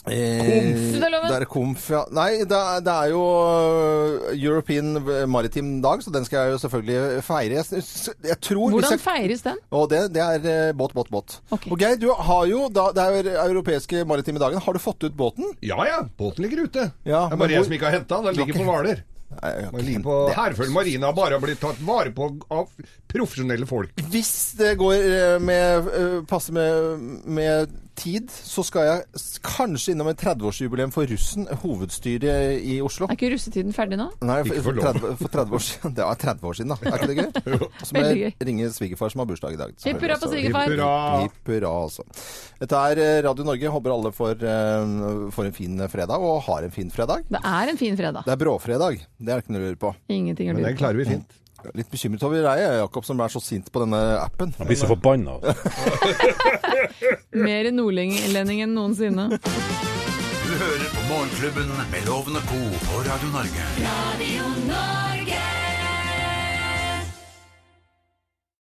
Speaker 2: Komf.
Speaker 3: Studentloven.
Speaker 2: Eh, Det er komf, ja. Nei, det er, det er jo ø, European Maritime Dag, så den skal jeg jo selvfølgelig feire. Jeg, s- s- jeg tror hvis
Speaker 3: Hvordan
Speaker 2: jeg...
Speaker 3: feires den?
Speaker 2: Og det, det er eh, båt, båt, båt.
Speaker 3: Ok.
Speaker 2: Og Geir, du har jo da, Det er jo europeiske maritime dagen. Har du fått ut båten?
Speaker 4: Ja ja, båten ligger ute.
Speaker 2: Ja,
Speaker 4: det er
Speaker 2: men
Speaker 4: bare jeg
Speaker 2: hvor-
Speaker 4: som ikke har henta den. Den ligger på Hvaler. Den ligger på Herføl Marina har bare blitt tatt vare på av profesjonelle folk.
Speaker 2: Hvis det går eh, med, eh, passer med, med tid, så skal jeg s- kanskje innom et 30-årsjubileum for russen, hovedstyret i Oslo.
Speaker 3: Er ikke russetiden ferdig nå?
Speaker 2: Nei,
Speaker 4: Ikke
Speaker 2: for, for,
Speaker 4: for lov.
Speaker 2: 30, for 30 år siden. Det var 30 år siden, da. Er ikke det gøy? Og Så må
Speaker 3: Veldig
Speaker 2: jeg
Speaker 3: gøy.
Speaker 2: ringe svigerfar, som har bursdag i dag.
Speaker 3: Hipp hurra på
Speaker 2: selvfølgelig.
Speaker 3: svigerfar.
Speaker 2: Hipp hurra. Hipp hurra, altså. Dette er eh, Radio Norge. Håper alle får, eh, får en fin fredag, og har en fin fredag.
Speaker 3: Det er en fin fredag.
Speaker 2: Det er bråfredag. Det er det ikke noe å lure på.
Speaker 3: Ingenting å
Speaker 4: Men
Speaker 3: lure
Speaker 4: den
Speaker 3: på.
Speaker 4: klarer vi fint.
Speaker 2: Litt bekymret over deg, Jakob, som er så sint på denne appen.
Speaker 6: Jeg blir så forbanna.
Speaker 3: Mer nordlending enn noensinne.
Speaker 1: Du hører på Morgenklubben med Loven og co. på Radio Norge.
Speaker 11: Radio Norge.